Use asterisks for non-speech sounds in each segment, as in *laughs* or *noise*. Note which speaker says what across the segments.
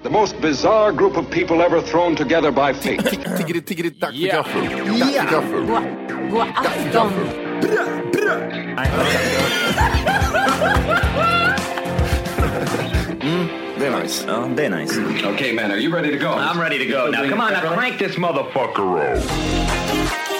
Speaker 1: The most bizarre group of people ever thrown together by fate.
Speaker 2: Tiggeri, tiggeri, dack för
Speaker 3: Ja.
Speaker 2: gaffel. Dack för gaffel.
Speaker 4: God afton!
Speaker 2: Det är nice.
Speaker 5: Oh, they're nice.
Speaker 1: okay, man, are you ready to go?
Speaker 5: I'm ready to go. Now, come on, now crank this motherfucker up.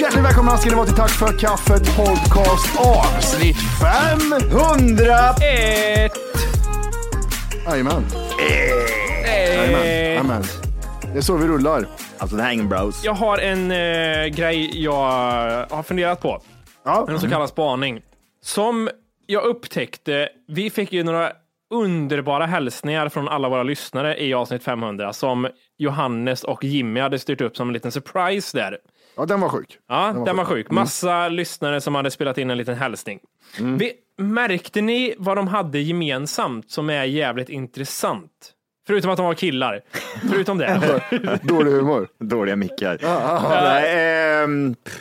Speaker 2: Hjärtligt välkomna ska ni vara till Tack för kaffet podcast avsnitt 500!
Speaker 3: Ett.
Speaker 2: Jajamän.
Speaker 3: Eh.
Speaker 2: Jajamän. Jajamän. Det är så vi rullar.
Speaker 5: Alltså, det här är ingen bros.
Speaker 3: Jag har en eh, grej jag har funderat på.
Speaker 2: Ja.
Speaker 3: En så kallad spaning. Som jag upptäckte, vi fick ju några underbara hälsningar från alla våra lyssnare i avsnitt 500 som Johannes och Jimmy hade styrt upp som en liten surprise där.
Speaker 2: ja, den var sjuk.
Speaker 3: Ja, den var, sjuk. Mm. Massa lyssnare som hade spelat in en liten hälsning. Vi, märkte ni vad de hade gemensamt som är jävligt intressant? Förutom att de var killar. Förutom *laughs* det.
Speaker 2: Dålig humor.
Speaker 5: Dåliga mickar. Nej, ehm, pff.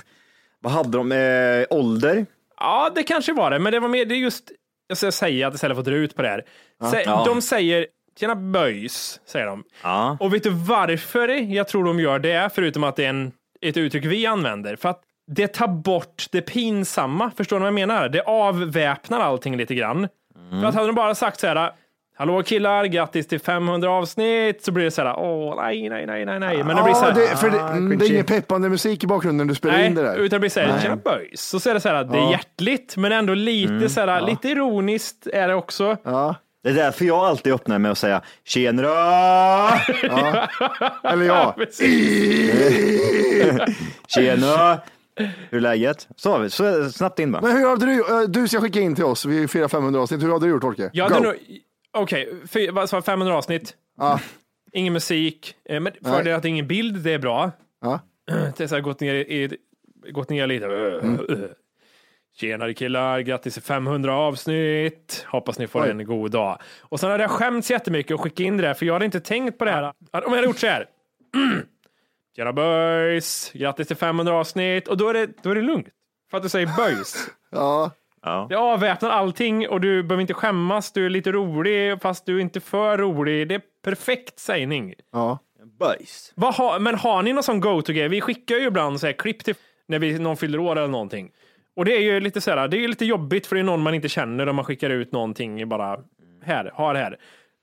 Speaker 5: vad hade de? Eh, ålder?
Speaker 3: Ja, det kanske var det, men det var mer, det är just, jag ska säga att istället för att dra ut på det här. Sä,
Speaker 5: Ja.
Speaker 3: De säger, tjena böjs, säger de.
Speaker 5: Ja.
Speaker 3: Och vet du varför jag tror de gör det, förutom att det är en, ett uttryck vi använder? För att det tar bort det pinsamma, förstår ni vad jag menar? Det avväpnar allting lite grann.
Speaker 5: Mm.
Speaker 3: För att hade de bara sagt så här, hallå killar, grattis till 500 avsnitt, så blir det så här, åh nej, nej, nej, nej, nej. Men det blir så
Speaker 2: Ja,
Speaker 3: här, Ah,
Speaker 2: det, för det, mm, det är ingen peppande musik i bakgrunden när du spelar in det där.
Speaker 3: utan det blir såhär, tjena boys. Så så är det såhär, det är hjärtligt, men ändå lite
Speaker 2: Mm.
Speaker 3: såhär, lite ironiskt är det också.
Speaker 2: Ja.
Speaker 5: Det är därför jag alltid öppnar med att säga *laughs* tjenare,
Speaker 2: Eller ja.
Speaker 3: *laughs* Precis.
Speaker 5: tjena. Hur är läget? Så, har vi. så snabbt in bara.
Speaker 2: Men hur hade du, eh, du ska skicka in till oss, vi firar 500 avsnitt. Hur hade du gjort Torke?
Speaker 3: Jag
Speaker 2: Go.
Speaker 3: hade nog, okej, fy- vad sa jag, 500 avsnitt.
Speaker 2: Ja.
Speaker 3: Ingen musik, eh, men
Speaker 2: Nej.
Speaker 3: fördelen att det är ingen bild, det är bra.
Speaker 2: Ja.
Speaker 3: *clears throat* Det är såhär, gått ner, i, gått ner lite.
Speaker 2: Mm.
Speaker 3: *clears throat* Tjenare killar, grattis till 500 avsnitt. Hoppas ni får
Speaker 2: Oj.
Speaker 3: en god dag. Och sen hade jag skämts jättemycket och skickat in det där, för jag hade inte tänkt på det här. Om jag hade gjort så här. *clears throat* Tjena böjs, grattis till 500 avsnitt. Och då är det, då är det lugnt. För att du säger böjs.
Speaker 2: Ja.
Speaker 3: Det avväpnar allting och du behöver inte skämmas. Du är lite rolig, fast du är inte för rolig. Det är perfekt sägning.
Speaker 2: ja.
Speaker 5: Böjs.
Speaker 3: Vad har- men har ni någon sån go-to-grej? Vi skickar ju ibland så här klipp till när vi, någon fyller år eller någonting. Och det är ju lite så här, det är ju lite jobbigt för det är någon man inte känner om man skickar ut någonting bara här, ha det här.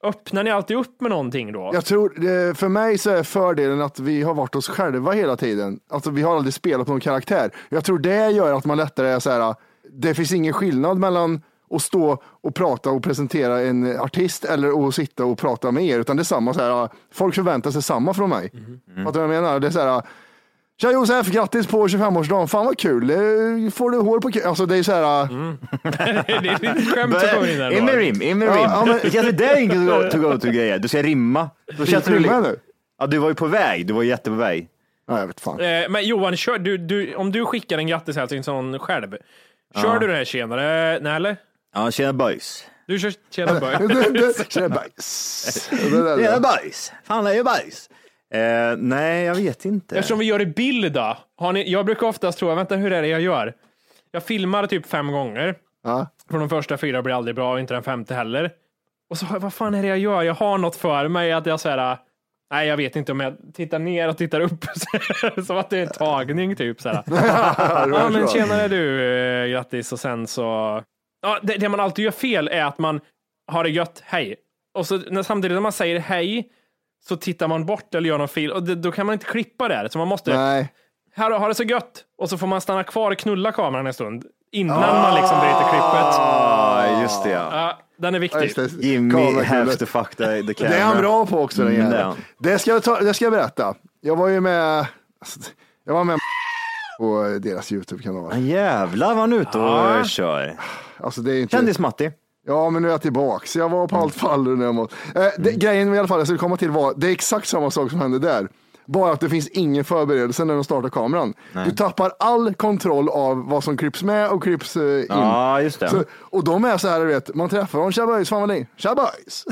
Speaker 3: Öppnar ni alltid upp med någonting då?
Speaker 2: Jag tror, eh, för mig så är fördelen att vi har varit oss själva hela tiden. Alltså vi har aldrig spelat någon karaktär. Jag tror det gör att man lättare är så här, det finns ingen skillnad mellan att stå och prata och presentera en artist eller att sitta och prata med er, utan det är samma så här, folk förväntar sig samma från mig. Fattar du vad jag menar? Det är så här, Tja Josef, grattis på 25-årsdagen, fan vad kul, Eh, får du hår på kul? Alltså det är så här,
Speaker 3: *laughs* det är lite skämt som kommer in där.
Speaker 5: In med
Speaker 3: då.
Speaker 5: rim, in med
Speaker 2: Ja,
Speaker 5: rim.
Speaker 2: ja, men-
Speaker 5: Det känns- Det är ingen *laughs* to-go-to-grej. Du ska rimma. Då
Speaker 2: Fick
Speaker 5: känns
Speaker 2: du
Speaker 5: det
Speaker 2: med
Speaker 5: li-
Speaker 2: nu?
Speaker 5: ja, du var ju på väg, du var jätte på väg.
Speaker 2: Nej, jag vet fan.
Speaker 3: Eh, Men Johan, kör, du, du, om du skickar en grattishälsning till någon själv, kör du det här tjenare? Nej eller?
Speaker 5: Ja, tjena böjs.
Speaker 3: Du kör
Speaker 2: *laughs*
Speaker 3: tjena bög.
Speaker 2: Tjena bajs. Det där,
Speaker 5: Det är
Speaker 2: det.
Speaker 5: bajs. Fan, det är bajs. Eh, nej, jag vet inte.
Speaker 3: Eftersom vi gör i bild då. Har ni, jag brukar oftast tro, vänta hur är det jag gör? Jag filmar typ fem gånger.
Speaker 2: Ja.
Speaker 3: För de första fyra blir aldrig bra och inte den femte heller. Och så har jag, vad fan är det jag gör? Jag har något för mig att jag så här, nej jag vet inte om jag tittar ner och tittar upp. *laughs* Som att det är en tagning typ. Så här. Ja men tjenare du, eh, grattis och sen så. Ja, det, det man alltid gör fel är att man har det gött, hej. Och så när, samtidigt när man säger hej så tittar man bort eller gör någon fil och det, då kan man inte klippa det här. Så man måste,
Speaker 2: Nej.
Speaker 3: här har det så gött. Och så får man stanna kvar och knulla kameran en stund innan man liksom bryter klippet.
Speaker 5: ah, just det ja.
Speaker 3: Ja, den är
Speaker 2: Ja,
Speaker 3: viktig.
Speaker 2: just det.
Speaker 5: Jimmy
Speaker 2: Kameraknullet.
Speaker 5: has to fuck the, the camera.
Speaker 2: Det är han bra på också den
Speaker 5: Mm, det är
Speaker 2: jäveln.
Speaker 5: han.
Speaker 2: Det ska, jag ta, det ska jag berätta. Jag var ju med, alltså, jag var med på deras YouTube-kanal.
Speaker 5: Jävlar vad han är ute och
Speaker 3: Ja.
Speaker 5: eh, kör.
Speaker 2: Alltså det är inte...
Speaker 5: Kändis-Matti.
Speaker 2: Ja, men nu är jag tillbaka. Så jag var på allt fall när jag mått. Eh, det, Grejen i alla fall jag skulle komma till var, det är exakt samma sak som hände där. Bara att det finns ingen förberedelse när de startar kameran. Du tappar all kontroll av vad som klipps med och klipps eh, in.
Speaker 5: Ja, just det.
Speaker 2: Så, och de är så här, du vet, man träffar dem, tja boys, fan vad länge, tja boys.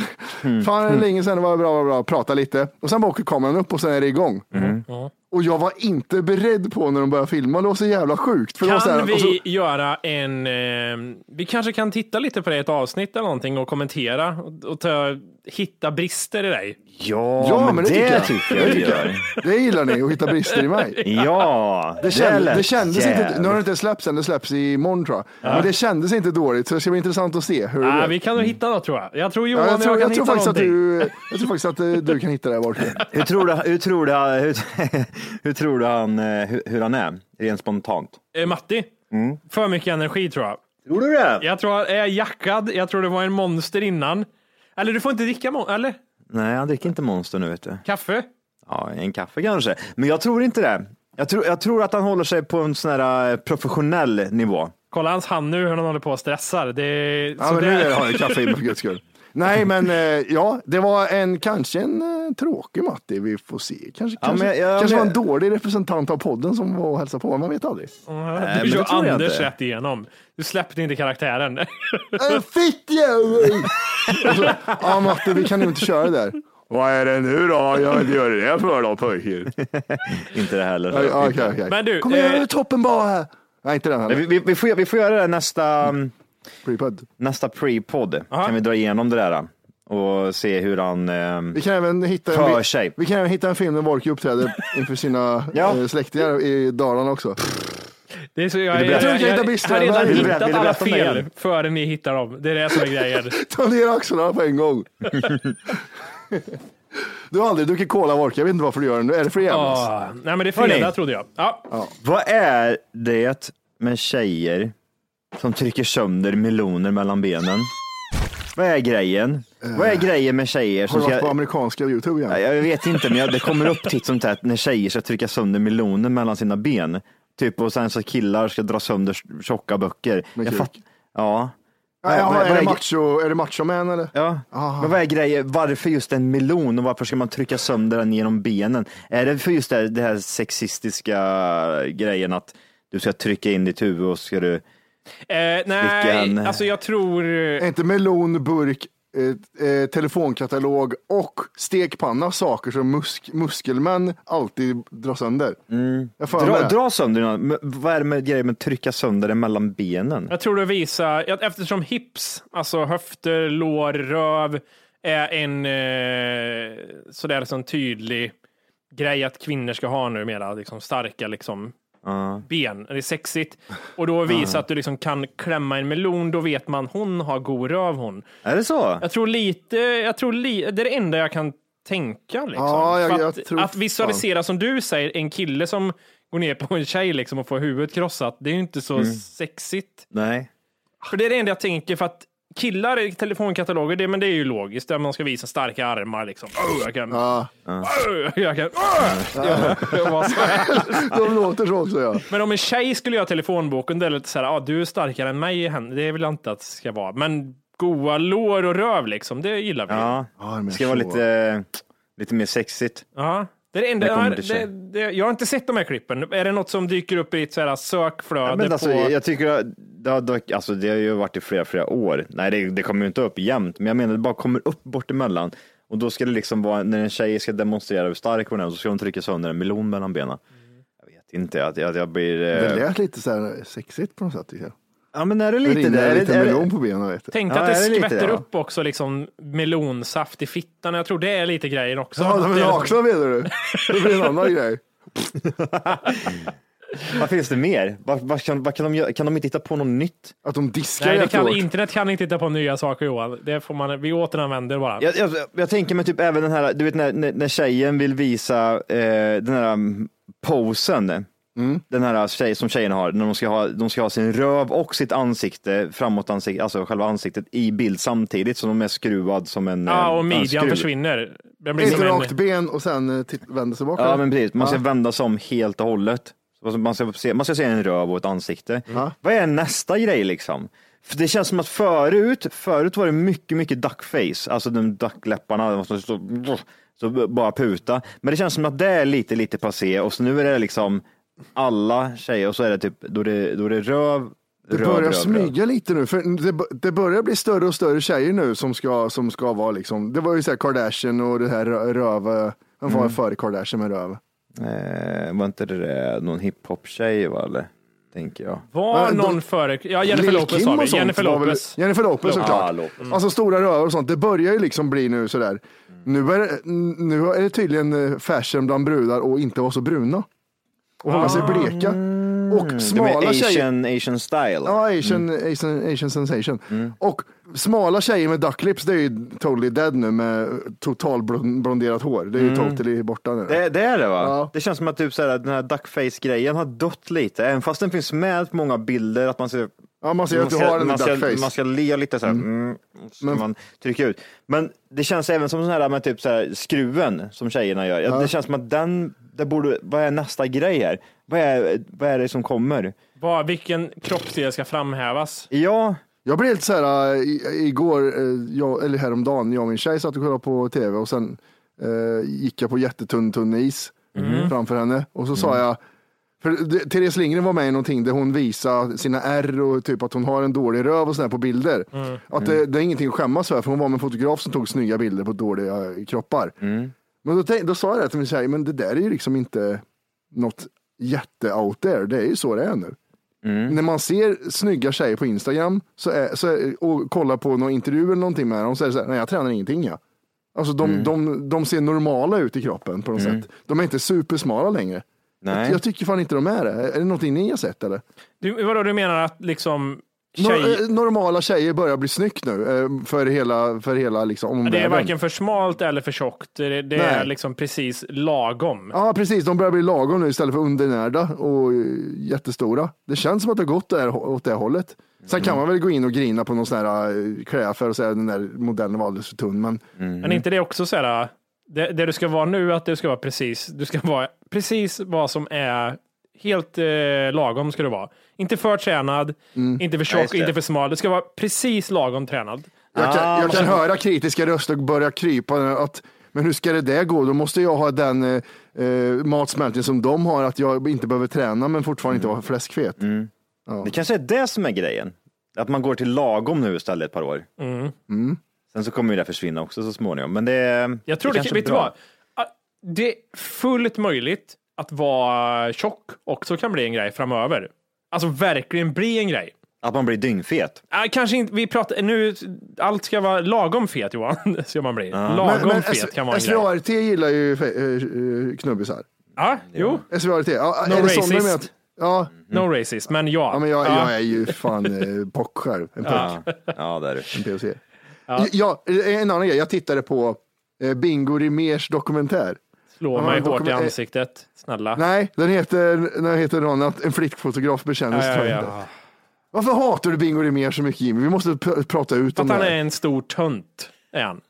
Speaker 5: Mm.
Speaker 2: Fan är det länge sedan, det var bra, var bra, prata lite. Och sen bara åker kameran upp och sen är det igång.
Speaker 5: Mm.
Speaker 2: Och jag var inte beredd på när de började filma, det var så jävla sjukt. För det var så här,
Speaker 3: Kan
Speaker 2: och så,
Speaker 3: vi göra en... Eh, vi kanske kan titta lite på det i ett avsnitt eller någonting och kommentera och, och ta, hitta brister i dig.
Speaker 5: Ja,
Speaker 2: Ja, men det tycker jag.
Speaker 5: jag vi gör.
Speaker 2: det gillar ni, att hitta brister i mig.
Speaker 3: *laughs*
Speaker 5: Ja,
Speaker 2: Det, känd,
Speaker 5: lät
Speaker 2: det kändes inte,
Speaker 5: jävligt.
Speaker 2: nu har det inte släppts än, det släpps imorgon tror jag. Men det kändes inte dåligt, så det ska bli intressant att se hur det
Speaker 3: Ah,
Speaker 2: blev.
Speaker 3: vi kan nog hitta något tror jag. Jag tror
Speaker 2: Ja,
Speaker 3: Johan
Speaker 2: jag,
Speaker 3: och jag
Speaker 2: tror,
Speaker 3: kan
Speaker 2: jag, tror
Speaker 3: hitta
Speaker 2: faktiskt att
Speaker 3: någonting.
Speaker 2: du, jag tror faktiskt att eh, du kan hitta det här borta.
Speaker 5: Hur tror du, hur tror du, hur, *laughs* hur tror du han, eh, hur, hur han är? Rent spontant.
Speaker 3: Eh, Matti, för mycket energi tror jag.
Speaker 5: Tror du det?
Speaker 3: Jag tror han är jackad, jag tror det var en monster innan. Eller du får inte dricka mon- eller?
Speaker 5: Nej, han dricker inte Monster nu vet du.
Speaker 3: Kaffe?
Speaker 5: Ja, en kaffe kanske. Men jag tror inte det. Jag tror, jag tror att han håller sig på en sån här eh, professionell nivå.
Speaker 3: Kolla hans hand nu hur han håller på och stressar. Det är,
Speaker 2: Ja,
Speaker 3: så
Speaker 2: men
Speaker 3: där-
Speaker 2: nu
Speaker 3: *laughs*
Speaker 2: har jag kaffe in för guds skull. Nej, men eh, ja, det var en, kanske en eh, tråkig Matti, vi får se. Kanske, kanske,
Speaker 5: men jag-
Speaker 2: kanske
Speaker 5: men-
Speaker 2: var en dålig representant av podden som var och hälsade på, man vet
Speaker 5: *laughs*
Speaker 2: aldrig.
Speaker 5: men
Speaker 3: du
Speaker 5: det
Speaker 3: kör
Speaker 5: tror jag
Speaker 3: Anders
Speaker 5: inte.
Speaker 3: rätt igenom. Du släppte inte karaktären. *laughs*
Speaker 5: Eh,
Speaker 2: En fitt jävel! Och så, Alltså, Ja Matti, vi kan ju inte köra det där. Vad är det nu då? Jag gör det för då pojkar.
Speaker 5: *laughs* Inte det heller.
Speaker 2: Ja, ja, okej, okej.
Speaker 3: Men du,
Speaker 2: Kom igen,
Speaker 3: eh,
Speaker 2: eh, toppen bara här. Nej, inte den
Speaker 5: Men
Speaker 2: här.
Speaker 5: Vi, vi, vi, får, vi får göra det nästa,
Speaker 2: Prepad.
Speaker 5: nästa pre-podd. Kan vi dra igenom det där och se hur han... ehm,
Speaker 2: Vi kan även hitta en,
Speaker 5: För
Speaker 2: vi-
Speaker 5: sig.
Speaker 2: Vi kan även hitta en film där Wolke uppträder inför sina
Speaker 5: Ja.
Speaker 2: eh, släktingar i Dalarna också.
Speaker 3: Det är så, jag,
Speaker 5: du
Speaker 3: jag,
Speaker 5: berätta?
Speaker 3: jag,
Speaker 2: Vill du
Speaker 3: jag,
Speaker 2: berätta?
Speaker 3: har redan
Speaker 2: Vill du
Speaker 5: berätta?
Speaker 3: hittat
Speaker 5: Vill du
Speaker 3: alla
Speaker 5: berätta om det
Speaker 3: fel
Speaker 5: igen?
Speaker 3: före ni hittar dem. Det är det som är grejen.
Speaker 2: Ta ner axlarna på en gång. *laughs* Du har aldrig druckit cola Wolke, jag vet inte varför du gör det nu. Är det för att jävlas?
Speaker 3: Ah, nej, men det är
Speaker 5: Hörni.
Speaker 3: fredag trodde jag. Ja.
Speaker 5: Vad är det med tjejer som trycker sönder meloner mellan benen? Vad är grejen? Vad är grejen med
Speaker 2: Har
Speaker 5: tjejer som
Speaker 2: du varit Eh. på
Speaker 5: ska...
Speaker 2: amerikanska YouTube igen?
Speaker 5: Nej, Jag vet inte, men jag- det kommer upp titt som tätt när tjejer ska trycka sönder meloner mellan sina ben. Typ och sen så killar ska dra sönder tjocka böcker.
Speaker 2: Med
Speaker 5: Jag
Speaker 2: kuk.
Speaker 5: fatt... Ja.
Speaker 2: Ja, ja,
Speaker 5: Vad- vad-
Speaker 2: är,
Speaker 5: vad
Speaker 2: det
Speaker 5: är-
Speaker 2: macho, är det macho man eller?
Speaker 5: Ja, men vad är grejen? Varför just en melon och varför ska man trycka sönder den genom benen? Är det för just det här, det här sexistiska grejen att du ska trycka in ditt huvud och ska du...
Speaker 3: Eh, nej,
Speaker 5: Vilken-
Speaker 3: alltså jag tror...
Speaker 2: Är inte melon, burk, eh, eh, telefonkatalog och stekpanna saker som musk, muskelmän alltid drar sönder? Jag får
Speaker 5: Mm. Dra,
Speaker 2: med det.
Speaker 5: dra sönder den. Men Vad är det med grejen med att trycka sönder den mellan benen?
Speaker 3: Jag tror det visar, att eftersom hips, alltså höfter, lår, röv, är en eh, sådär sån tydlig grej att kvinnor ska ha nu mera, liksom starka liksom ben. Det är sexigt. Och då visar att du liksom kan klämma en melon, då vet man hon har god röv hon.
Speaker 5: Är det så?
Speaker 3: Jag tror lite, jag tror li, det är det enda jag kan tänka. Liksom.
Speaker 2: Ja, jag-
Speaker 3: För
Speaker 2: jag
Speaker 3: att,
Speaker 2: tror
Speaker 3: att visualisera, som du säger, en kille som går ner på en tjej liksom, och får huvudet krossat, det är ju inte så
Speaker 2: Mm.
Speaker 3: sexigt.
Speaker 5: Nej.
Speaker 3: För det är det enda jag tänker, för att killar i telefonkataloger, det, men det är ju logiskt, där man ska visa starka armar. Liksom. Oh, jag kan... Oh, jag kan... Oh! Ja, vad så
Speaker 2: *laughs*
Speaker 3: här.
Speaker 2: De låter så också ja.
Speaker 3: Men om en tjej skulle göra telefonboken, det är lite så här, ah, du är starkare än mig, i henne." det vill jag inte att det ska vara. Men goa lår och röv, liksom, det gillar vi.
Speaker 5: Ja.
Speaker 2: Ja, men
Speaker 5: Det ska vara
Speaker 2: så.
Speaker 5: lite, lite mer sexigt.
Speaker 3: Ja. Det är det enda,
Speaker 5: Det
Speaker 3: jag,
Speaker 5: kommer
Speaker 3: har,
Speaker 5: till sig.
Speaker 3: det, det, jag har inte sett de här klippen. Är det något som dyker upp i ett så här sökflöde?
Speaker 5: Ja, men alltså,
Speaker 3: på...
Speaker 5: Jag tycker att det har, dock- alltså, det har ju varit i flera, flera år. Nej, det, det kommer ju inte upp jämt, men jag menar det bara kommer upp bort emellan. Och då ska det liksom vara, när en tjej ska demonstrera hur stark hon är, så ska hon trycka sönder en melon mellan benen. Jag vet inte, att jag, att jag blir... eh,
Speaker 2: Det lät lite så här sexigt på något sätt. tycker jag.
Speaker 5: Ja, men är det
Speaker 2: Det
Speaker 5: lite det?
Speaker 2: rinner
Speaker 5: Är det,
Speaker 2: lite
Speaker 5: är det,
Speaker 2: melon på benen. Vet du.
Speaker 3: Tänkte
Speaker 5: Ja,
Speaker 3: att det,
Speaker 5: är det lite,
Speaker 3: skvätter
Speaker 5: ja.
Speaker 3: upp också liksom melonsaft i fittan. Jag tror det är lite grejen också.
Speaker 2: Ja, de
Speaker 3: Att
Speaker 2: är
Speaker 3: det-
Speaker 2: nakna menar du? Det blir en annan grej.
Speaker 5: vad finns det mer? Vad, vad kan, vad kan, de, göra? kan de inte hitta på något nytt?
Speaker 2: Att de diskar
Speaker 3: Nej, det
Speaker 2: jättehårt.
Speaker 3: kan, internet kan inte hitta på nya saker Johan. Det får man, vi återanvänder bara.
Speaker 5: Jag, jag, jag tänker mig typ även den här, du vet när, när, när tjejen vill visa eh, den här mm, posen. Den här tjej, som tjejen har, när de ska, ha, de ska ha sin röv och sitt ansikte, framåt ansikte, alltså själva ansiktet i bild samtidigt, så de är skruvad som en
Speaker 3: ja,
Speaker 5: eh,
Speaker 3: och
Speaker 5: en
Speaker 3: midjan
Speaker 5: skruv.
Speaker 3: försvinner. Den blir
Speaker 2: Ett
Speaker 3: som en,
Speaker 2: rakt ben och sen eh, titt- vänder sig bak.
Speaker 5: Ja,
Speaker 2: eller?
Speaker 5: men precis. Man ska
Speaker 2: Ja.
Speaker 5: vända sig om helt och hållet. Alltså, Man ska, se, man ska se en röv och ett ansikte. Vad är nästa grej liksom? För det känns som att förut, förut var det mycket, mycket duckface, alltså de duckläpparna, de som så, så bara puta. Men det känns som att det är lite, lite passé och så nu är det liksom alla tjejer och så är det typ, då är det, då är det röv,
Speaker 2: Det
Speaker 5: röv,
Speaker 2: börjar
Speaker 5: röv, röv.
Speaker 2: smyga lite nu, för det, b- det börjar bli större och större tjejer nu som ska, som ska vara liksom, det var ju så här Kardashian och det här rö- röv, eh, vem
Speaker 5: Mm.
Speaker 2: var före Kardashian med röv?
Speaker 5: Eh, var inte det där någon hiphop-tjej va, eller? Tänker jag.
Speaker 3: Var
Speaker 2: Men de-
Speaker 3: någon före... Ja, Jennifer
Speaker 2: Lil'
Speaker 3: Lopez
Speaker 2: Kim
Speaker 3: sa
Speaker 2: och
Speaker 3: vi.
Speaker 2: sånt
Speaker 3: Jennifer
Speaker 2: var väl-
Speaker 3: Lopez. mm.
Speaker 2: Jennifer Lopez
Speaker 5: Ja,
Speaker 2: såklart.
Speaker 5: Lopez. Mm.
Speaker 2: Alltså stora rövar och sånt, det börjar ju liksom bli nu sådär. Nu är, det, nu är det tydligen eh, fashion bland brudar och inte vara så bruna. Och hålla sig bleka. Och
Speaker 5: Ah. De är
Speaker 2: smala tjejer.
Speaker 5: Eh, asian, asian style.
Speaker 2: Ja, Asian, Asian, Asian sensation.
Speaker 5: Mm.
Speaker 2: Och smala tjejer med ducklips, det är ju totally dead nu med totalblonderat hår. Det är ju totally borta nu.
Speaker 5: Mm. Det, det är det va?
Speaker 2: Ja.
Speaker 5: Det känns som att typ så här, att den här duckface-grejen har dött lite, även fast den finns med på många bilder, att man ser
Speaker 2: ja, man ser att du har en
Speaker 5: man, ska,
Speaker 2: duckface.
Speaker 5: man ska le lite så här, mm. så
Speaker 2: Men-
Speaker 5: man trycker ut. Men det känns även som sån här med typ så här, skruven som tjejerna gör. Ja. Det känns som att den, det borde, vad är nästa grej här? Vad är, vad är det som kommer?
Speaker 3: Vad, vilken kroppsdel ska framhävas?
Speaker 5: Ja,
Speaker 2: Jag blev helt så här, äh, i- igår, äh, jag, eller häromdagen, jag och min tjej satt och kollade på tv och sen äh, gick jag på jättetunn tunn is framför henne och så sa jag, för det, Therese Lindgren var med i någonting där hon visade sina ärr och typ att hon har en dålig röv och sådär på bilder. Att det, det är ingenting att skämmas för, för hon var med en fotograf som tog snygga bilder på dåliga äh, kroppar. Men då, tänk, då sa jag det till min tjej, men det där är ju liksom inte något jätte out there, det är ju så det är nu.
Speaker 3: Mm.
Speaker 2: När man ser snygga tjejer på Instagram så är, så är, och kollar på någon intervju eller någonting med dem så är det så här, nej jag tränar ingenting jag. Alltså de,
Speaker 3: Mm.
Speaker 2: de, de ser normala ut i kroppen på något sätt. De är inte supersmala längre.
Speaker 5: nej.
Speaker 2: Jag, jag tycker fan inte de är det. Är det någonting ni har sett eller?
Speaker 3: Du, vadå, du menar att liksom...
Speaker 2: Nor-
Speaker 3: Tjej...
Speaker 2: eh, normala tjejer börjar bli snyggt nu eh, för hela, för hela liksom,
Speaker 3: Ja,
Speaker 2: omvärlden.
Speaker 3: Det är varken för smalt eller för tjockt. Det, det
Speaker 2: Nej.
Speaker 3: är liksom precis lagom.
Speaker 2: Ja precis, de börjar bli lagom nu istället för undernärda och eh, jättestora. Det känns som att det har gått där, åt det hållet. Sen kan man väl gå in och grina på någon sån här eh, klädaffär och säga att den där modellen var alldeles för tunn. Men
Speaker 3: Men
Speaker 5: Mm.
Speaker 3: inte det också så här, det, det du ska vara nu, att du ska vara precis, du ska vara precis vad som är helt eh, lagom ska du vara. Inte för tränad, inte för
Speaker 5: Mm. just
Speaker 3: tjock,
Speaker 5: det.
Speaker 3: inte för smal. Du ska vara precis lagom tränad.
Speaker 2: jag kan,
Speaker 5: Ah,
Speaker 2: jag kan höra kritiska röster börja krypa. Att, men hur ska det där gå? Då måste jag ha den eh, eh, matsmältning som de har, att jag inte behöver träna men fortfarande
Speaker 3: Mm.
Speaker 2: inte vara fläskfet.
Speaker 5: Det kanske är det som är grejen. Att man går till lagom nu istället ett par år.
Speaker 3: Mm.
Speaker 2: Mm.
Speaker 5: Sen så kommer ju det försvinna också så småningom. Men det,
Speaker 3: Jag tror det,
Speaker 5: kanske är
Speaker 3: vet du
Speaker 5: bra.
Speaker 3: vad? Att Det är fullt möjligt att vara tjock också kan bli en grej framöver. Alltså verkligen bli en grej.
Speaker 5: Att man blir dyngfet.
Speaker 3: Äh, kanske inte, vi pratar, nu, allt ska vara lagom fet Johan, *laughs* ska man bli. Lagom fet kan vara en grej.
Speaker 2: SVRT gillar ju fe- eh, eh, knubbisar.
Speaker 3: Ja, jo,
Speaker 2: SVRT, ja,
Speaker 3: No
Speaker 2: är det sådana
Speaker 3: racist.
Speaker 2: med att, ja,
Speaker 3: no racist, men ja.
Speaker 2: Ja, men jag,
Speaker 3: Ja.
Speaker 2: jag är ju fan eh, bock själv. En pojk,
Speaker 5: Ja, *laughs* ja det är det.
Speaker 2: en POC. Ja, eh, en annan grej. Jag tittade på eh, Bingo Rimérs dokumentär.
Speaker 3: Slå
Speaker 2: Ja,
Speaker 3: mig
Speaker 2: då
Speaker 3: hårt i
Speaker 2: kommer- eh,
Speaker 3: ansiktet, snälla.
Speaker 2: Nej, den heter, den heter något annat. En flickfotograf bekänner
Speaker 3: Ja,
Speaker 2: sig.
Speaker 3: ja,
Speaker 2: till
Speaker 3: ja.
Speaker 2: henne. Varför hatar du Bingo Rimér så mycket Jimmy? Vi måste pr- prata ut
Speaker 3: För
Speaker 2: om
Speaker 3: Att
Speaker 2: det
Speaker 3: han är
Speaker 2: här.
Speaker 3: en stor tönt,
Speaker 2: *laughs*
Speaker 3: är han.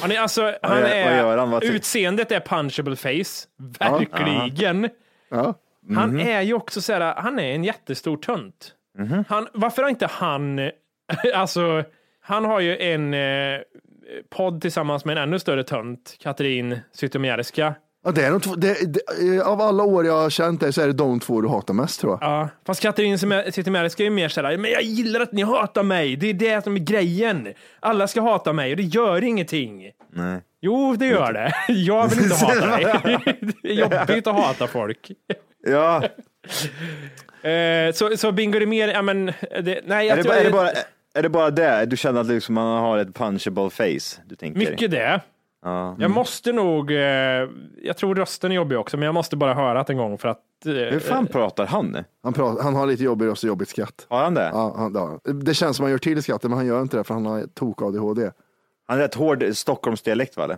Speaker 3: han är, alltså, han
Speaker 5: gör- vad gör han?
Speaker 3: är,
Speaker 5: Vad ty-
Speaker 3: utseendet är punchable face, verkligen.
Speaker 2: Ja. Mhm.
Speaker 3: Han är ju också så här, han är en jättestor tönt. Han, varför har inte han, *laughs* alltså, han har ju en eh, podd tillsammans med en ännu större tönt, Katrin Zytomierska.
Speaker 2: Ja, det är de två, det, det, eh, av alla år jag har känt dig så är det de två du hatar mest tror jag.
Speaker 3: Ja, fast Katrin som är- sitter med dig ska ju mer säga men jag gillar att ni hatar mig. Det är det som är grejen. Alla ska hata mig och det gör ingenting.
Speaker 5: Nej.
Speaker 3: Jo, det gör det. *laughs* Jag vill inte hata
Speaker 5: *laughs*
Speaker 3: dig. *laughs* Det är jobbigt att hata folk. *laughs*
Speaker 5: Ja,
Speaker 3: Eh, så, så Bingo det mer, ja men, det, nej,
Speaker 5: är
Speaker 3: jag
Speaker 5: det,
Speaker 3: tror-
Speaker 5: bara, är, det bara, är det bara det? Du känner att liksom man har ett punchable face? Du tänker.
Speaker 3: mycket det.
Speaker 5: Ja.
Speaker 3: Jag måste nog, eh, jag tror rösten är jobbig också, men jag måste bara höra det en gång för att eh,
Speaker 5: Hur fan pratar han?
Speaker 2: Han, pratar, han har lite jobbig röst och jobbigt skratt.
Speaker 5: Har han det?
Speaker 2: Ja, han, det har han. Det känns som han gör till skrattet men han gör inte det för han har tok-ADHD.
Speaker 5: Han är rätt hård Stockholmsdialekt va? eller?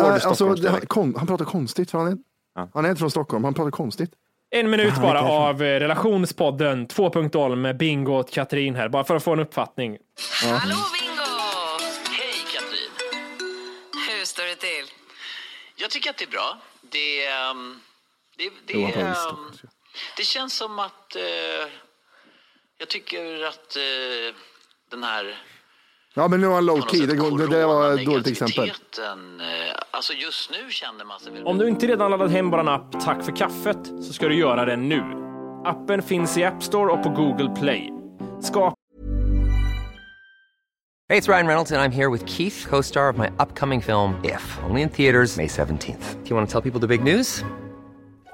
Speaker 2: Nej, alltså, det, han,
Speaker 5: Stockholmsdialekt.
Speaker 2: kon, han pratar konstigt för han är,
Speaker 5: Ja.
Speaker 2: han är inte från Stockholm, han pratar konstigt.
Speaker 3: En minut bara av eh, relationspodden 2.0 med Bingo och Katrin här, bara för att få en uppfattning.
Speaker 4: Hallå Bingo! Hej Katrin! Hur står det till? Jag tycker att det är bra. Det, ehm, det, det,
Speaker 2: Jo, han pratar
Speaker 4: ehm,
Speaker 2: Stockholm.
Speaker 4: det känns som att eh, jag tycker att eh, den här
Speaker 2: Ja men nu var han low key, det, går- det, det var ett dåligt exempel.
Speaker 4: coronanegativiteten, eh, Alltså just nu känner man sig väl...
Speaker 3: Om du inte redan laddat hem vår app Tack för kaffet så ska du göra det nu. Appen finns i App Store och på Google Play. Skapa
Speaker 6: Hey, it's Ryan Reynolds, and I'm here with Keith, co star of my upcoming film, If, only in theaters, May 17th. Do you want to tell people the big news?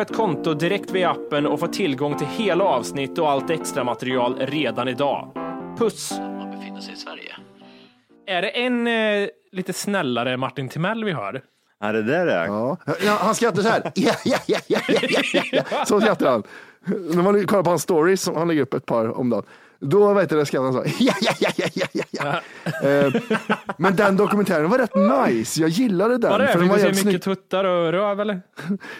Speaker 3: ett konto direkt via appen och få tillgång till hela avsnitt och allt extra material redan idag. Puss!
Speaker 4: Man befinner sig i Sverige.
Speaker 3: Är det en eh, lite snällare Martin Timell vi hör?
Speaker 5: Ja, det där är det.
Speaker 2: Ja. Ja, han skrattar så här. *laughs* Ja, ja, ja, ja, ja, ja, ja. Så skrattar han. När man kollar på hans stories, som han lägger upp ett par om dagen, då vet jag det skrattar han så. här. *laughs* Ja, ja, ja, ja, ja, ja, ja. Eh, Men den dokumentären var rätt nice. Jag gillade den.
Speaker 3: Var det?
Speaker 2: för den
Speaker 3: Fick
Speaker 2: var
Speaker 3: vi se
Speaker 2: jävligt
Speaker 3: mycket
Speaker 2: snygg.
Speaker 3: tuttar och röv eller?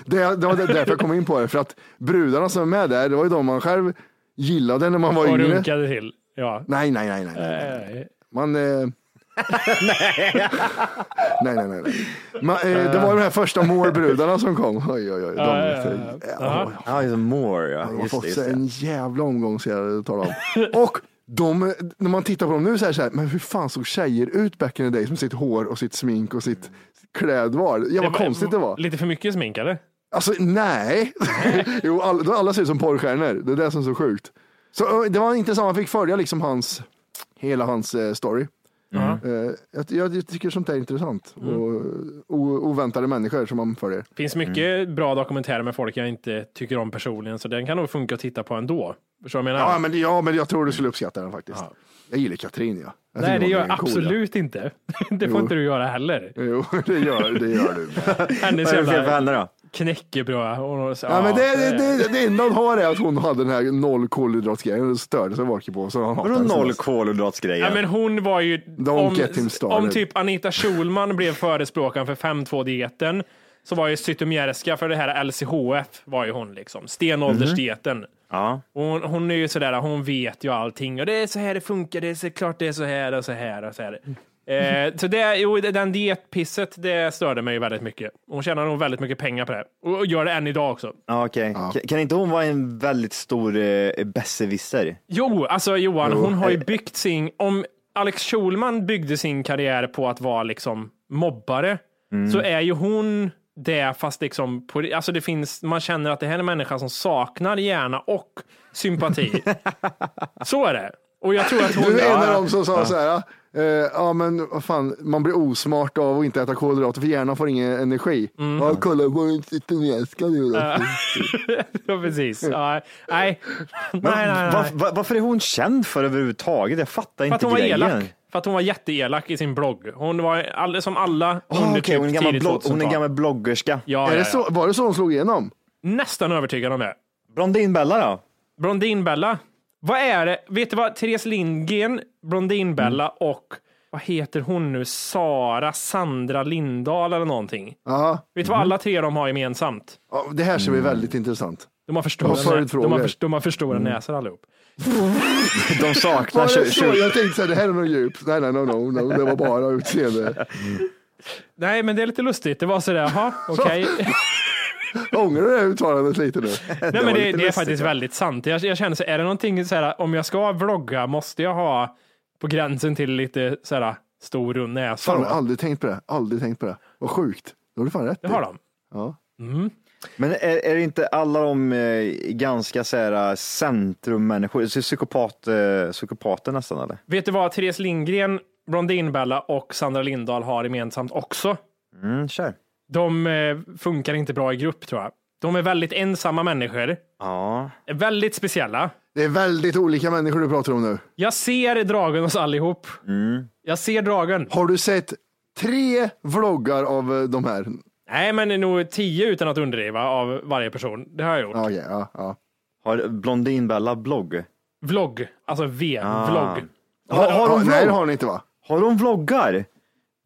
Speaker 2: Det, det var därför jag kom in på det. För att brudarna som är med där, det var ju de man själv gillade när man var
Speaker 3: Och
Speaker 2: yngre.
Speaker 3: runkade till. Ja. Eh,
Speaker 2: Nej, nej, nej, nej.
Speaker 5: Eh.
Speaker 2: nej. Man...
Speaker 5: *laughs*
Speaker 2: Eh... nej, nej, nej. nej. Man, eh, det var ju de här första målbrudarna som kom. Oj, oj, oj. De,
Speaker 3: Jaha.
Speaker 5: Ja, he's a more. Ja,
Speaker 2: De har
Speaker 5: just det,
Speaker 2: fått
Speaker 5: just
Speaker 2: sig
Speaker 5: det.
Speaker 2: en jävla omgång ska jag tala om.
Speaker 5: *laughs*
Speaker 2: Och de, när man tittar på dem nu så här, så här, men hur fan såg tjejer ut back in the day med sitt hår och sitt smink och sitt klädval? Ja, vad konstigt det var.
Speaker 3: Lite för mycket smink eller?
Speaker 2: Alltså nej. *laughs* jo, alla, då alla ser ut som porrstjärnor. Det är det som är så sjukt. Så ö, det var intressant, man fick följa liksom hans, hela hans eh, story. Eh, jag, jag tycker sånt är intressant. Och, eh, o, oväntade människor som man följer.
Speaker 3: finns mycket
Speaker 2: Mm.
Speaker 3: bra dokumentärer med folk jag inte tycker om personligen, så den kan nog funka att titta på ändå. Förstår du vad jag menar?
Speaker 2: Ja, men, ja, men jag tror du skulle uppskatta den faktiskt. Jag gillar Katrin, ja. Jag
Speaker 3: Nej,
Speaker 2: tycker
Speaker 3: det
Speaker 2: hon
Speaker 3: gör
Speaker 2: är
Speaker 3: jag
Speaker 2: cool, ja.
Speaker 3: absolut inte. *laughs* Det får inte du göra heller.
Speaker 2: Jo, *laughs* det gör, det gör du.
Speaker 3: Hennes
Speaker 5: Vad är det för fel på
Speaker 3: jävla
Speaker 5: henne då?
Speaker 3: knäckebröd. och-
Speaker 2: Ja, men det, det, det, det enda hon har är att hon hade den här noll kolhydratsgrejen och störde sig Walker på. Så han hatar
Speaker 5: Vadå
Speaker 2: henne.
Speaker 5: noll
Speaker 3: Ja,
Speaker 5: kolhydratsgrejer?
Speaker 3: men hon var ju...
Speaker 2: Don't get him started.
Speaker 3: om typ Anita Schulman blev förespråkaren för 5.2-dieten så var ju Zytomierska för det här LCHF var ju hon liksom. Stenåldersdieten.
Speaker 5: Ja.
Speaker 3: Hon, hon är ju sådär, hon vet ju allting och det är så här det funkar, det är så klart det är så här och så här och så här. Eh, så det, jo, det- den dietpisset, det störde mig ju väldigt mycket. Hon tjänar nog väldigt mycket pengar på det och och gör det än idag också.
Speaker 5: Ja, okej. Kan- Kan inte hon vara en väldigt stor eh, besserwisser?
Speaker 3: Jo, alltså Johan, hon har ju
Speaker 5: eh,
Speaker 3: byggt sin, om Alex Schulman byggde sin karriär på att vara liksom mobbare, så
Speaker 5: Mm.
Speaker 3: är ju hon det fast liksom, på, alltså det finns, man känner att det här är en människa som saknar hjärna och
Speaker 5: *laughs*
Speaker 3: sympati. så är det. Och jag tror att hon...
Speaker 2: Du är en av dem som sa så här, Eh, ja men vad fan, man blir osmart av att inte äta kolhydrater för hjärnan får ingen energi.
Speaker 3: Mm.
Speaker 2: Ja, kolla på en italienska nu då.
Speaker 3: *laughs* ja, precis. Ja, nej. *laughs* nej,
Speaker 5: Men
Speaker 3: nej, nej.
Speaker 5: va- va- varför är hon känd för överhuvudtaget? Jag fattar
Speaker 3: För att
Speaker 5: inte
Speaker 3: hon var
Speaker 5: grejen.
Speaker 3: elak. För att hon var jätteelak i sin blogg. Hon var all, som alla
Speaker 5: Ah,
Speaker 3: under
Speaker 5: okej, hon, är en
Speaker 3: typ
Speaker 5: gammal
Speaker 3: tidigt
Speaker 5: blogg, hon är en
Speaker 3: 2000-tal.
Speaker 5: gammal bloggerska.
Speaker 3: Ja,
Speaker 2: är
Speaker 3: ja,
Speaker 2: det
Speaker 3: ja.
Speaker 2: så, var det så hon slog igenom?
Speaker 3: Nästan övertygad om det.
Speaker 5: Blondinbella då?
Speaker 3: Blondinbella. Vad är det? Vet du vad? Therese Lindgren, Blondinbella och vad heter hon nu? Sara, Sandra Lindahl eller någonting.
Speaker 2: Ja,
Speaker 3: Vet du vad alla tre de har gemensamt?
Speaker 2: Ja, det här ser
Speaker 3: Mm.
Speaker 2: vi väldigt intressant.
Speaker 3: De har förstora,
Speaker 2: Och följdfrågor.
Speaker 3: de har för, de har för stora näsor allihop.
Speaker 5: De saknar...
Speaker 2: Var det
Speaker 5: tju-
Speaker 2: så?
Speaker 5: tju-
Speaker 2: Jag tänkte såhär, det här är något djupt. Nej, nej, no, no, no. Det var bara utseende.
Speaker 3: Nej, men det är lite lustigt. Det var sådär, jaha, okej.
Speaker 2: Jag ångrar det här uttalandet lite nu.
Speaker 3: Nej,
Speaker 5: var
Speaker 3: men det,
Speaker 5: lite
Speaker 3: det är
Speaker 5: lustigt,
Speaker 3: faktiskt
Speaker 5: ja.
Speaker 3: väldigt sant. Jag, jag känner så är det någonting så här, om jag ska vlogga, måste jag ha på gränsen till lite så här stor rund näsa?
Speaker 2: Fan,
Speaker 3: då?
Speaker 2: jag har aldrig tänkt på det. Aldrig tänkt på det. Vad sjukt. Då har du fan rätt.
Speaker 3: Det har de.
Speaker 2: Ja.
Speaker 5: Men är, är det inte alla de eh, ganska så här, eh, centrummänniskor, så psykopat, eh, psykopater nästan eller?
Speaker 3: Vet du vad Therese Lindgren, Blondinbella och Sandra Lindahl har gemensamt också?
Speaker 5: Mm, kör.
Speaker 3: De eh, funkar inte bra i grupp tror jag. De är väldigt ensamma människor,
Speaker 5: Ja.
Speaker 3: är väldigt speciella.
Speaker 2: Det är väldigt olika människor du pratar om nu.
Speaker 3: Jag ser dragen hos allihop. Jag ser dragen.
Speaker 2: Har du sett tre vloggar av eh, de här?
Speaker 3: Nej, men det är nog tio utan att underdriva av varje person. Det har jag gjort.
Speaker 2: Ja, okej, ja, ja.
Speaker 5: Har Blondinbella blogg?
Speaker 3: Vlogg, alltså V, vlogg.
Speaker 5: Har, har,
Speaker 2: Ja,
Speaker 5: de
Speaker 2: nej, det
Speaker 5: vlogg?
Speaker 2: har ni inte va?
Speaker 5: har de vloggar?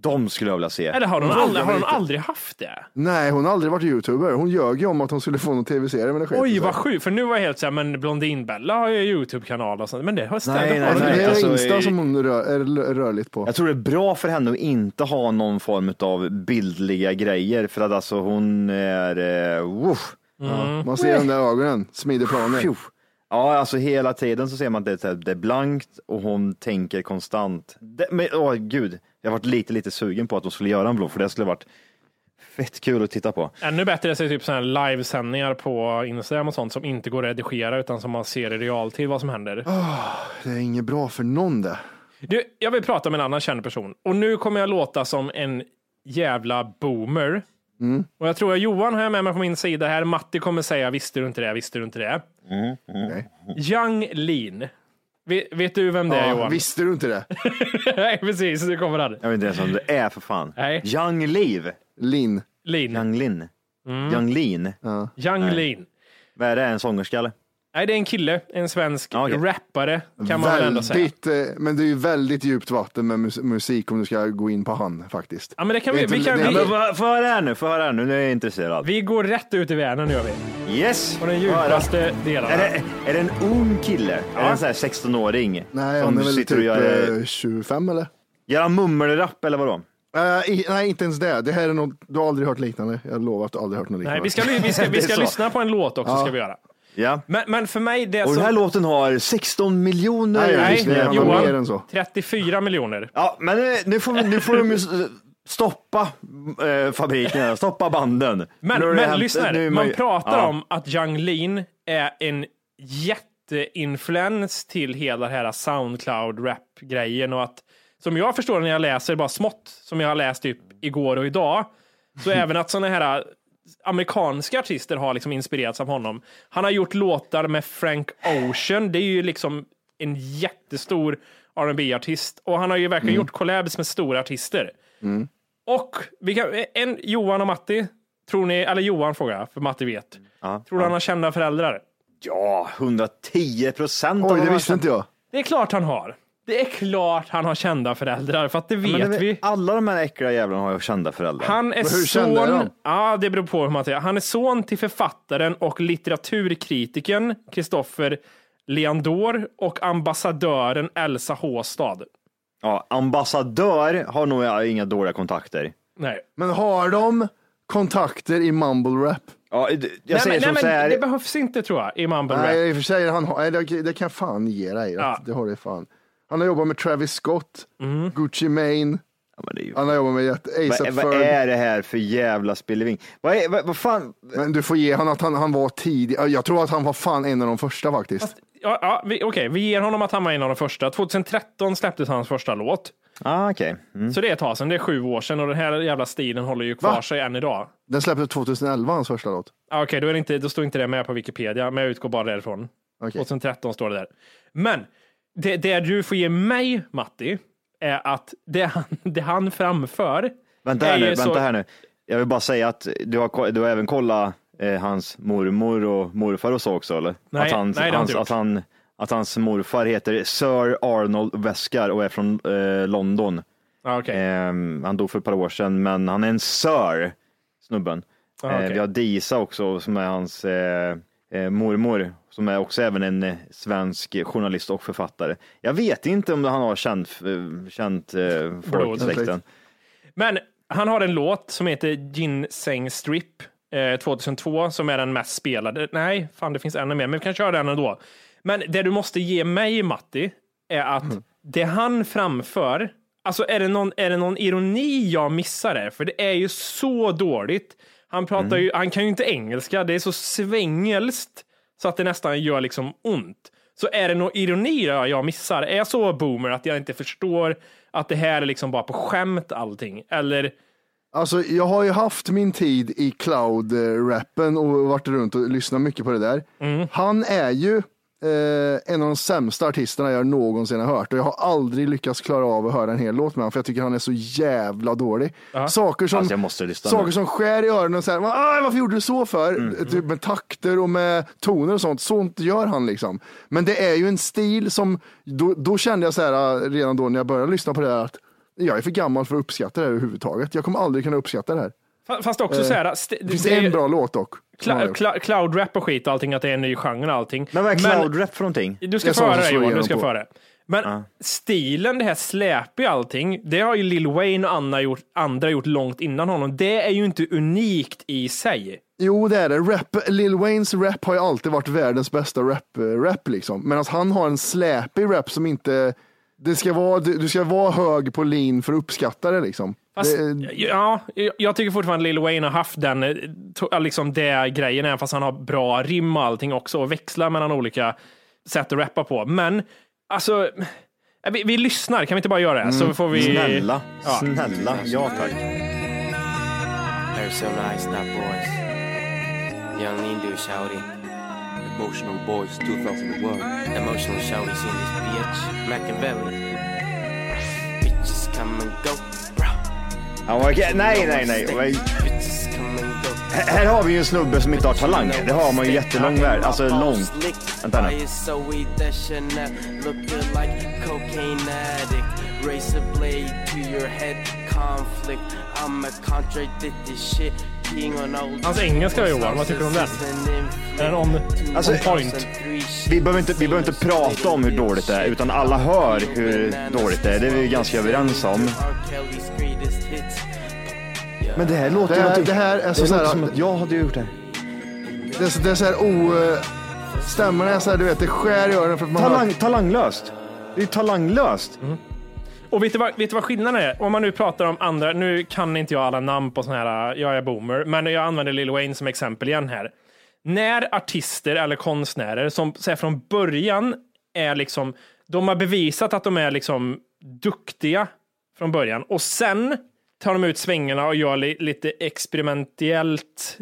Speaker 5: De skulle jag vilja se.
Speaker 3: Eller har hon, aldrig, har hon aldrig haft det?
Speaker 2: Nej, hon har aldrig varit youtuber. Hon ljög ju om att hon skulle få någon tv-serie, men det sket
Speaker 3: Oj,
Speaker 2: sig.
Speaker 3: vad sjukt. För nu var jag helt såhär, men Blondinbella har ju YouTube-kanal och sånt. Men det har stämt.
Speaker 5: Nej, nej,
Speaker 2: Ja, men Det är
Speaker 5: Alltså,
Speaker 2: Insta
Speaker 5: i-
Speaker 2: som hon rör, är l- rörligt på.
Speaker 3: Mm.
Speaker 5: Jag tror det är bra för henne att inte ha någon form av bildliga grejer för att alltså hon är... Eh, woof.
Speaker 2: Man ser de där ögonen, smider planer.
Speaker 5: Pju. Ja, alltså hela tiden så ser man att det, är så här- det är blankt och hon tänker konstant. Det, men åh gud, jag har varit lite, lite sugen på att hon skulle göra en vlogg för det skulle varit fett kul att titta på.
Speaker 3: Ännu bättre är det typ sådana här livesändningar på Instagram och sånt som inte går att redigera utan som man ser i realtid vad som händer.
Speaker 2: Det är inget bra för någon det.
Speaker 3: Du, jag vill prata med en annan känd person och nu kommer jag låta som en jävla boomer. Och jag tror att Johan har jag med mig på min sida här. Matti kommer säga visste du inte det, visste du inte det. Yang Lin. Vet, vet du vem det är
Speaker 2: Ja,
Speaker 3: Johan?
Speaker 2: visste du inte det?
Speaker 3: *laughs* Nej, precis. Nu kommer han.
Speaker 5: Jag vet inte ens om det är för fan.
Speaker 3: Nej.
Speaker 5: Young Liv,
Speaker 2: Linn.
Speaker 3: Lin.
Speaker 5: Young Lin,
Speaker 3: Mm.
Speaker 5: Young Lin.
Speaker 3: Yang Lin.
Speaker 5: Vad är det, en sångerska eller?
Speaker 3: Nej, det är en kille, en svensk
Speaker 5: Ja, okej.
Speaker 3: rappare kan man väl ändå säga.
Speaker 2: Väldigt, eh, men det är ju väldigt djupt vatten med mus- musik om du ska gå in på han faktiskt.
Speaker 3: Ja, men det kan vi,
Speaker 2: Det är
Speaker 3: vi,
Speaker 2: inte-
Speaker 3: kan,
Speaker 2: det är
Speaker 5: Ja,
Speaker 3: vi,
Speaker 5: men få- Få höra här nu, få höra här nu, nu är jag intresserad.
Speaker 3: vi går rätt ut i Vänern gör vi.
Speaker 5: Yes!
Speaker 3: På den
Speaker 5: Få höra.
Speaker 3: djupaste delen.
Speaker 5: Är det, är det en ung kille? Är det en sån här 16-åring?
Speaker 2: Nej,
Speaker 5: som
Speaker 2: han är väl
Speaker 5: sitter
Speaker 2: typ
Speaker 5: och gör,
Speaker 2: eh, 25 eller?
Speaker 5: gör han mummelrap eller vadå?
Speaker 2: Eh, i, nej, inte ens det. Det här är något, du har aldrig hört liknande. Jag lovar att du aldrig hört något liknande.
Speaker 3: Nej, vi ska, ly- vi ska,
Speaker 5: *laughs* Det
Speaker 3: vi
Speaker 5: är
Speaker 3: ska
Speaker 5: så.
Speaker 3: lyssna på en låt också. Ska vi göra.
Speaker 5: Ja.
Speaker 3: Men, men för mig, det
Speaker 5: Och den här
Speaker 3: som...
Speaker 5: låten har 16 miljoner
Speaker 2: Nej, nej,
Speaker 5: lyssningar.
Speaker 2: nej,
Speaker 5: på
Speaker 2: han har
Speaker 5: den.
Speaker 2: mer än så.
Speaker 3: 34 miljoner.
Speaker 5: Ja, men eh, nu får, vi- nu får de ju s- eh, stoppa eh, fabriken, här, stoppa banden.
Speaker 3: Men,
Speaker 5: Nu har det
Speaker 3: men
Speaker 5: hänt-
Speaker 3: lyssna
Speaker 5: nu
Speaker 3: här.
Speaker 5: är
Speaker 3: Man
Speaker 5: ju-
Speaker 3: pratar
Speaker 5: ja.
Speaker 3: om att Yang Lean är en jätteinfluens till hela den här Soundcloud-rap-grejen och att, som jag förstår när jag läser bara smått, som jag har läst typ igår och idag,
Speaker 5: *laughs*
Speaker 3: så även att sådana här äh, amerikanska artister har liksom inspirerats av honom. Han har gjort låtar med Frank Ocean, det är ju liksom en jättestor rb artist och han har ju
Speaker 5: Mm.
Speaker 3: verkligen gjort collabs med stora artister. Och vi kan, en, Johan och Matti, tror ni, eller Johan frågar jag, för Matti vet. tror du han har kända föräldrar?
Speaker 5: Ja, 110 procent.
Speaker 2: Oj, det visste inte jag.
Speaker 3: Det är klart han har. Det är klart han har kända föräldrar, för att det vet vi.
Speaker 5: Alla de här äckliga jävlarna har ju kända föräldrar.
Speaker 3: Han är
Speaker 2: Men hur kända är
Speaker 3: son,
Speaker 2: de?
Speaker 3: ja, det beror på hur man säger. Han är son till författaren och litteraturkritiken Kristoffer Leandor och ambassadören Elsa Håstad.
Speaker 5: Ja, ambassadör har nog jag inga dåliga kontakter.
Speaker 3: Nej.
Speaker 2: Men har de kontakter i mumble rap?
Speaker 5: Ja, jag
Speaker 3: Nej,
Speaker 5: säger
Speaker 3: men, nej,
Speaker 5: som så
Speaker 3: men
Speaker 5: här.
Speaker 3: det behövs inte tror jag i Mumble Rap.
Speaker 2: Nej, i och för sig, han har, nej, det, det kan jag fan ge dig. rätt.
Speaker 3: Ja.
Speaker 2: Det har det fan. Han har jobbat med Travis Scott, Gucci Mane,
Speaker 5: Ja, men det är ju-
Speaker 2: han har jobbat med jätte-
Speaker 5: Vad,
Speaker 2: ASAP
Speaker 5: vad
Speaker 2: Ferg.
Speaker 5: är det här för jävla spilleving? Vad, är, vad, vad fan?
Speaker 2: Men du får ge honom att han, han var tidig. Jag tror att han var fan en av de första faktiskt.
Speaker 3: Ja, ja, vi- Okej, vi ger honom att han var en av de första. 2013 släpptes hans första låt.
Speaker 5: Ah, okay.
Speaker 3: Så det är ett tag sedan, det är sju år sedan och den här jävla stilen håller ju kvar
Speaker 2: Va?
Speaker 3: sig än idag.
Speaker 2: Den släpptes 2011, hans första låt.
Speaker 3: Ah, Okej, då, är det inte- då står inte det med på Wikipedia, men jag utgår bara därifrån. 2013 står det där. Men det, det du får ge mig, Matti, är att det han, det han framför
Speaker 5: Vänta här
Speaker 3: är
Speaker 5: nu,
Speaker 3: ju
Speaker 5: vänta
Speaker 3: så-
Speaker 5: här nu. Jag vill bara säga att du har, ko- du har även kollat eh, hans mormor och morfar och så också eller?
Speaker 3: Nej,
Speaker 5: att hans,
Speaker 3: nej, det har jag
Speaker 5: hans,
Speaker 3: inte gjort.
Speaker 5: att, han, att hans morfar heter Sir Arnold Westgar och är från eh, London.
Speaker 3: Ah, okej.
Speaker 5: Ehm, han dog för ett par år sedan, men han är en Sir, snubben.
Speaker 3: Ah,
Speaker 5: Eh,
Speaker 3: okej.
Speaker 5: vi har Disa också som är hans eh, eh, mormor, som är också även en eh, svensk journalist och författare. Jag vet inte om han har känt, eh, känt eh, folk i
Speaker 3: Blod.
Speaker 5: släkten.
Speaker 3: Men han har en låt som heter Ginseng Strip eh, 2002 som är den mest spelade. Nej, fan det finns ännu mer, men vi kan köra den ändå. Men det du måste ge mig, Matti, är att det han framför, alltså är det, någon, är det någon ironi jag missar här? För det är ju så dåligt. Han pratar ju, han kan ju inte engelska, det är så svengelskt så att det nästan gör liksom ont. Så är det någon ironi jag jag missar? Är jag så boomer att jag inte förstår att det här är liksom bara på skämt allting? Eller?
Speaker 2: Alltså, jag har ju haft min tid i cloud-rappen och varit runt och lyssnat mycket på det där.
Speaker 5: Mm.
Speaker 2: Han är ju eh, en av de sämsta artisterna jag någonsin har hört och jag har aldrig lyckats klara av att höra en hel låt med honom för jag tycker han är så jävla dålig. Saker som,
Speaker 5: Alltså, jag måste lyssna
Speaker 2: saker
Speaker 5: nu.
Speaker 2: som skär i öronen och så här, "Ah, varför gjorde du så för? Typ med takter och med toner och sånt. Sånt gör han liksom. Men det är ju en stil som, då, då kände jag så här eh, redan då när jag började lyssna på det här att jag är för gammal för att uppskatta det här överhuvudtaget. Jag kommer aldrig kunna uppskatta det här.
Speaker 3: Fa- Fast också så här, st-
Speaker 2: Eh, Det finns det en bra låt dock. som han har
Speaker 3: cla-
Speaker 2: gjort.
Speaker 3: cla- cloud rap och skit och allting, att det är en ny genre och allting.
Speaker 5: Men vad är cloud-rap för någonting?
Speaker 3: Du
Speaker 2: Det
Speaker 3: ska
Speaker 2: är
Speaker 3: få
Speaker 2: sånt
Speaker 3: höra
Speaker 2: som
Speaker 3: det
Speaker 2: slår
Speaker 3: Johan, du
Speaker 2: igenom
Speaker 3: ska
Speaker 2: på.
Speaker 3: få höra det. Men stilen, det här släp i allting, det har ju Lil Wayne och Anna gjort, andra gjort långt innan honom. Det är ju inte unikt i sig.
Speaker 2: Jo, det är det. Rap, Lil Waynes rap har ju alltid varit världens bästa rap, eh, rap liksom. Medan han har en släpig rap som inte, det ska vara, du, du ska vara hög på lin för att uppskatta det liksom.
Speaker 3: Fast,
Speaker 2: det,
Speaker 3: ja, jag- jag tycker fortfarande Lil Wayne har haft den, eh, to- liksom det grejen, även fast han har bra rim och allting också och växlar mellan olika sätt att rappa på. Men alltså, eh, vi, vi lyssnar, kan vi inte bara göra det? Så får vi...
Speaker 5: Snälla,
Speaker 3: Ja.
Speaker 5: snälla, ja tack.
Speaker 7: They're so nice, that boys. Young Indo shouty. Emotional boys 2001. Emotional shouties in this bitch. Machiavelli. Bitches come and go.
Speaker 5: Han var, okej, nej, nej, nej. Vad-
Speaker 7: Bitches come and go.
Speaker 5: Här, här har vi ju en snubbe som inte har talang. Det har man ju jättelång värld. Alltså lång. Vänta nu.
Speaker 7: Fire so we dashing up, looking like cocaine addict. Razor blade to your head, conflict. I'm a contradict this shit. King on old.
Speaker 3: Hans engelska då Johan, vad tycker du om den? Är den on,
Speaker 5: Alltså,
Speaker 3: on point?
Speaker 5: Vi behöver, inte, vi behöver inte prata om hur dåligt det är, utan alla hör hur dåligt det är. Det är vi ju ganska överens om.
Speaker 7: R. Kelly's greatest hits.
Speaker 5: Men det här låter
Speaker 2: Det här-
Speaker 5: ju inte-
Speaker 2: det här är så
Speaker 5: låter
Speaker 2: här-
Speaker 5: som att jag hade gjort det.
Speaker 2: det, är så- det är så här o... eh, Stämmorna är så här, du vet, det skär i öronen för att man
Speaker 5: Talang,
Speaker 2: hör.
Speaker 5: talanglöst. Det är talanglöst.
Speaker 3: Och vet du, vad, vet du vad skillnaden är? Om man nu pratar om andra, nu kan inte jag alla namn på sådana här, jag är boomer, men jag använder Lil Wayne som exempel igen här. När artister eller konstnärer som så här, från början är liksom, de har bevisat att de är liksom duktiga från början och sen tar de ut svängarna och gör li, lite experimentellt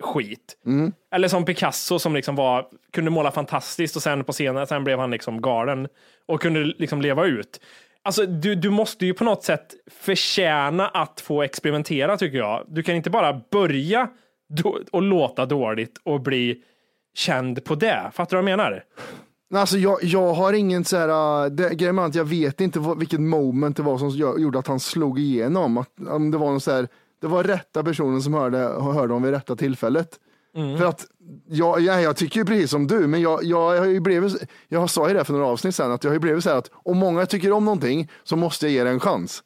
Speaker 3: skit.
Speaker 2: Mm.
Speaker 3: Eller som Picasso som liksom var, kunde måla fantastiskt och sen på scenen, sen blev han liksom galen och kunde liksom leva ut. Alltså, du, du måste ju på något sätt förtjäna att få experimentera tycker jag. Du kan inte bara börja då, och låta dåligt och bli känd på det. Fattar du vad jag menar?
Speaker 2: Nej, Alltså, jag, jag har ingen så här, eh, det, grejen med att jag vet inte vad, vilket moment det var som gör- gjorde att han slog igenom. Att, om det var någon så här, det var rätta personen som hörde, hörde om vid rätta tillfället.
Speaker 5: Mm.
Speaker 2: För att jag, jag, jag tycker ju precis som du, men jag, jag, har ju blivit, jag sa ju det för några avsnitt sedan, att jag har ju blivit så här att om många tycker om någonting så måste jag ge det en chans.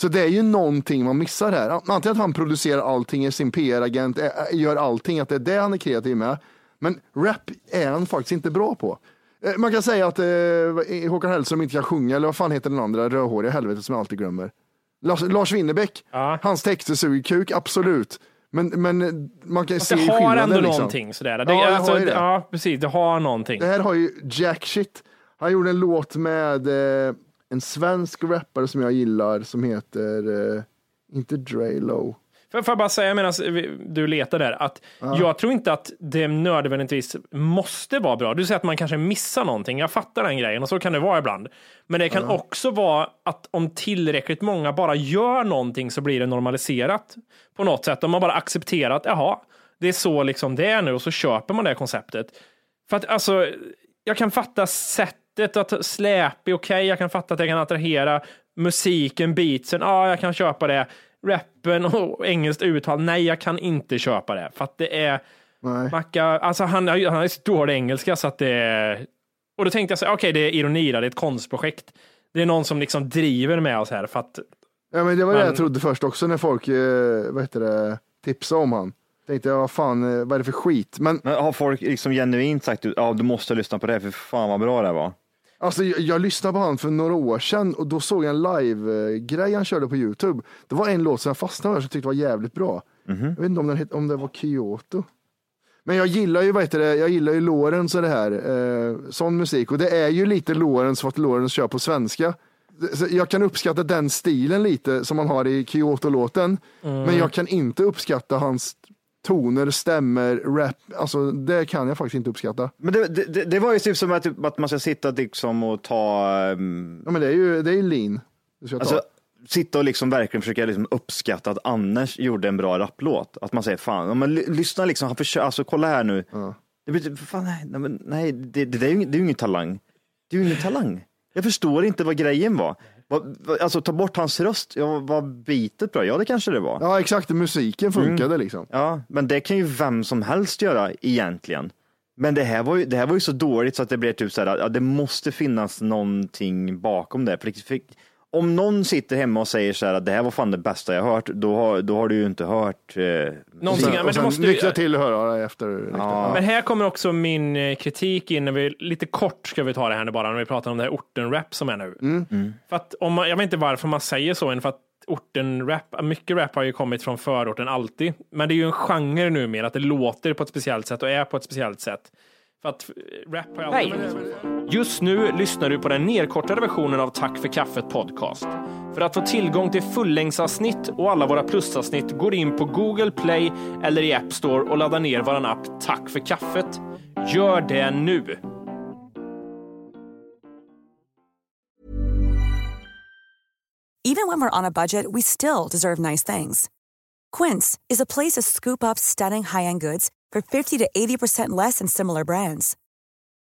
Speaker 2: Så det är ju någonting man missar här. Antingen att han producerar allting, är sin PR-agent, ä- ä- gör allting, att det är det han är kreativ med. Men rap är han faktiskt inte bra på. Eh, Man kan säga att eh, Håkan Hellström inte kan sjunga, eller vad fan heter den andra rödhåriga helvetet som jag alltid glömmer? Lars, Lars Winnerbäck, hans texter suger kuk, absolut. Men, men man kan
Speaker 3: Fast
Speaker 2: se
Speaker 3: det har
Speaker 2: skillnaden.
Speaker 3: ändå
Speaker 2: liksom.
Speaker 3: någonting sådär. Det,
Speaker 2: Ja, det
Speaker 3: alltså,
Speaker 2: har ju det.
Speaker 3: ja, precis. Det har någonting.
Speaker 2: Det här har ju jack shit. Han gjorde en låt med eh, en svensk rappare som jag gillar som heter, eh, inte Draylo.
Speaker 3: Får får jag bara säga medan du letar där, att jag tror inte att det nödvändigtvis måste vara bra. Du säger att man kanske missar någonting, jag fattar den grejen och så kan det vara ibland. Men det kan också vara att om tillräckligt många bara gör någonting så blir det normaliserat på något sätt. Om man bara accepterar att jaha, det är så liksom det är nu och så köper man det konceptet. För att alltså, jag kan fatta sättet att släp är okej, jag kan fatta att jag kan attrahera musiken, beatsen, ja, jag kan köpa det. Rappen och engelskt uttal, nej, jag kan inte köpa det. För att det är, Macka, alltså han, har ju- han har ju så dålig engelska så att det är, och då tänkte jag så här, okej, det är ironi där, det är ett konstprojekt. Det är någon som liksom driver med oss här för att
Speaker 2: Ja, men det var det
Speaker 3: Men-
Speaker 2: jag trodde först också när folk eh, vad heter det, tipsade om han. Tänkte jag, vad fan, eh, vad är det för skit? Men
Speaker 5: Men har folk liksom genuint sagt ja, du måste lyssna på det här, för fan vad bra det var?
Speaker 2: Alltså, jag, jag lyssnade på han för några år sedan och då såg jag en live-grej han körde på YouTube. Det var en låt som jag fastnade för som jag tyckte var jävligt bra. Jag vet inte om, den het, om det var Kyoto. Men jag gillar ju, vad heter det, jag gillar ju Lorentz och det här, eh, sån musik. Och det är ju lite Lorentz för att Lorentz kör på svenska. Det- Så jag kan uppskatta den stilen lite som han har i Kyoto-låten. Men jag kan inte uppskatta hans toner, stämmer, rap. Alltså det kan jag faktiskt inte uppskatta.
Speaker 5: Men det, det, det- det var ju typ som att, att man ska sitta liksom och ta, ehm,
Speaker 2: Ja, men det är ju det är ju lean. Det ska jag ta.
Speaker 5: alltså, sitta och liksom verkligen försöka liksom uppskatta att Anders gjorde en bra rapplåt. Att man säger fan, ja, men ly- lyssna liksom, han försöker, alltså kolla här nu. Det blir typ, fan nej, nej, men, nej det, det, det, är ju, det är ju ingen talang. Det är ju ingen talang. Jag förstår inte vad grejen var. Vad- vad- Alltså ta bort hans röst, ja, var bitet bra? Ja det kanske det var.
Speaker 2: Ja exakt, musiken funkade
Speaker 3: Mm.
Speaker 2: liksom.
Speaker 5: Ja, men det kan ju vem som helst göra egentligen. Men det här var ju, det här var ju så dåligt så att det blev typ så här, ja, det måste finnas någonting bakom det. För det för, om någon sitter hemma och säger så här att det här var fan det bästa jag hört, då har, då har du ju inte hört. Eh,
Speaker 3: någonting,
Speaker 2: Sen-
Speaker 3: men
Speaker 2: och
Speaker 3: det
Speaker 2: sen
Speaker 3: måste ju-
Speaker 2: lyckra till och höra det efter. Ja.
Speaker 3: Men här kommer också min eh, kritik in, när vi, lite kort ska vi ta det här nu bara, när vi pratar om det här orten-rap som är nu. För att om man, jag vet inte varför man säger så än, för att orten-rap, mycket rap har ju kommit från förorten alltid. Men det är ju en genre numera, att det låter på ett speciellt sätt och är på ett speciellt sätt. För att eh, rap har ju alltid... Just nu lyssnar du på den nedkortade versionen av Tack för kaffet podcast. För att få tillgång till fullängdsavsnitt och alla våra plusavsnitt går in på Google Play eller i App Store och laddar ner vår app Tack för kaffet. Gör det nu!
Speaker 8: Even when we're on a budget, we still deserve nice things. Quince is a place to scoop up stunning high-end goods for 50 to 80% less than similar brands.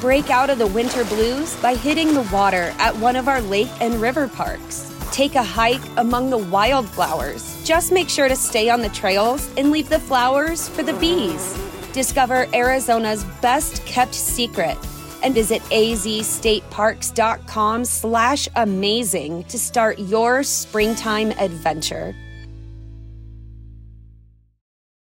Speaker 9: Break out of the winter blues by hitting the water at one of our lake and river parks. Take a hike among the wildflowers. Just make sure to stay on the trails and leave the flowers for the bees. Discover Arizona's best kept secret and visit azstateparks.com slash amazing to start your springtime adventure.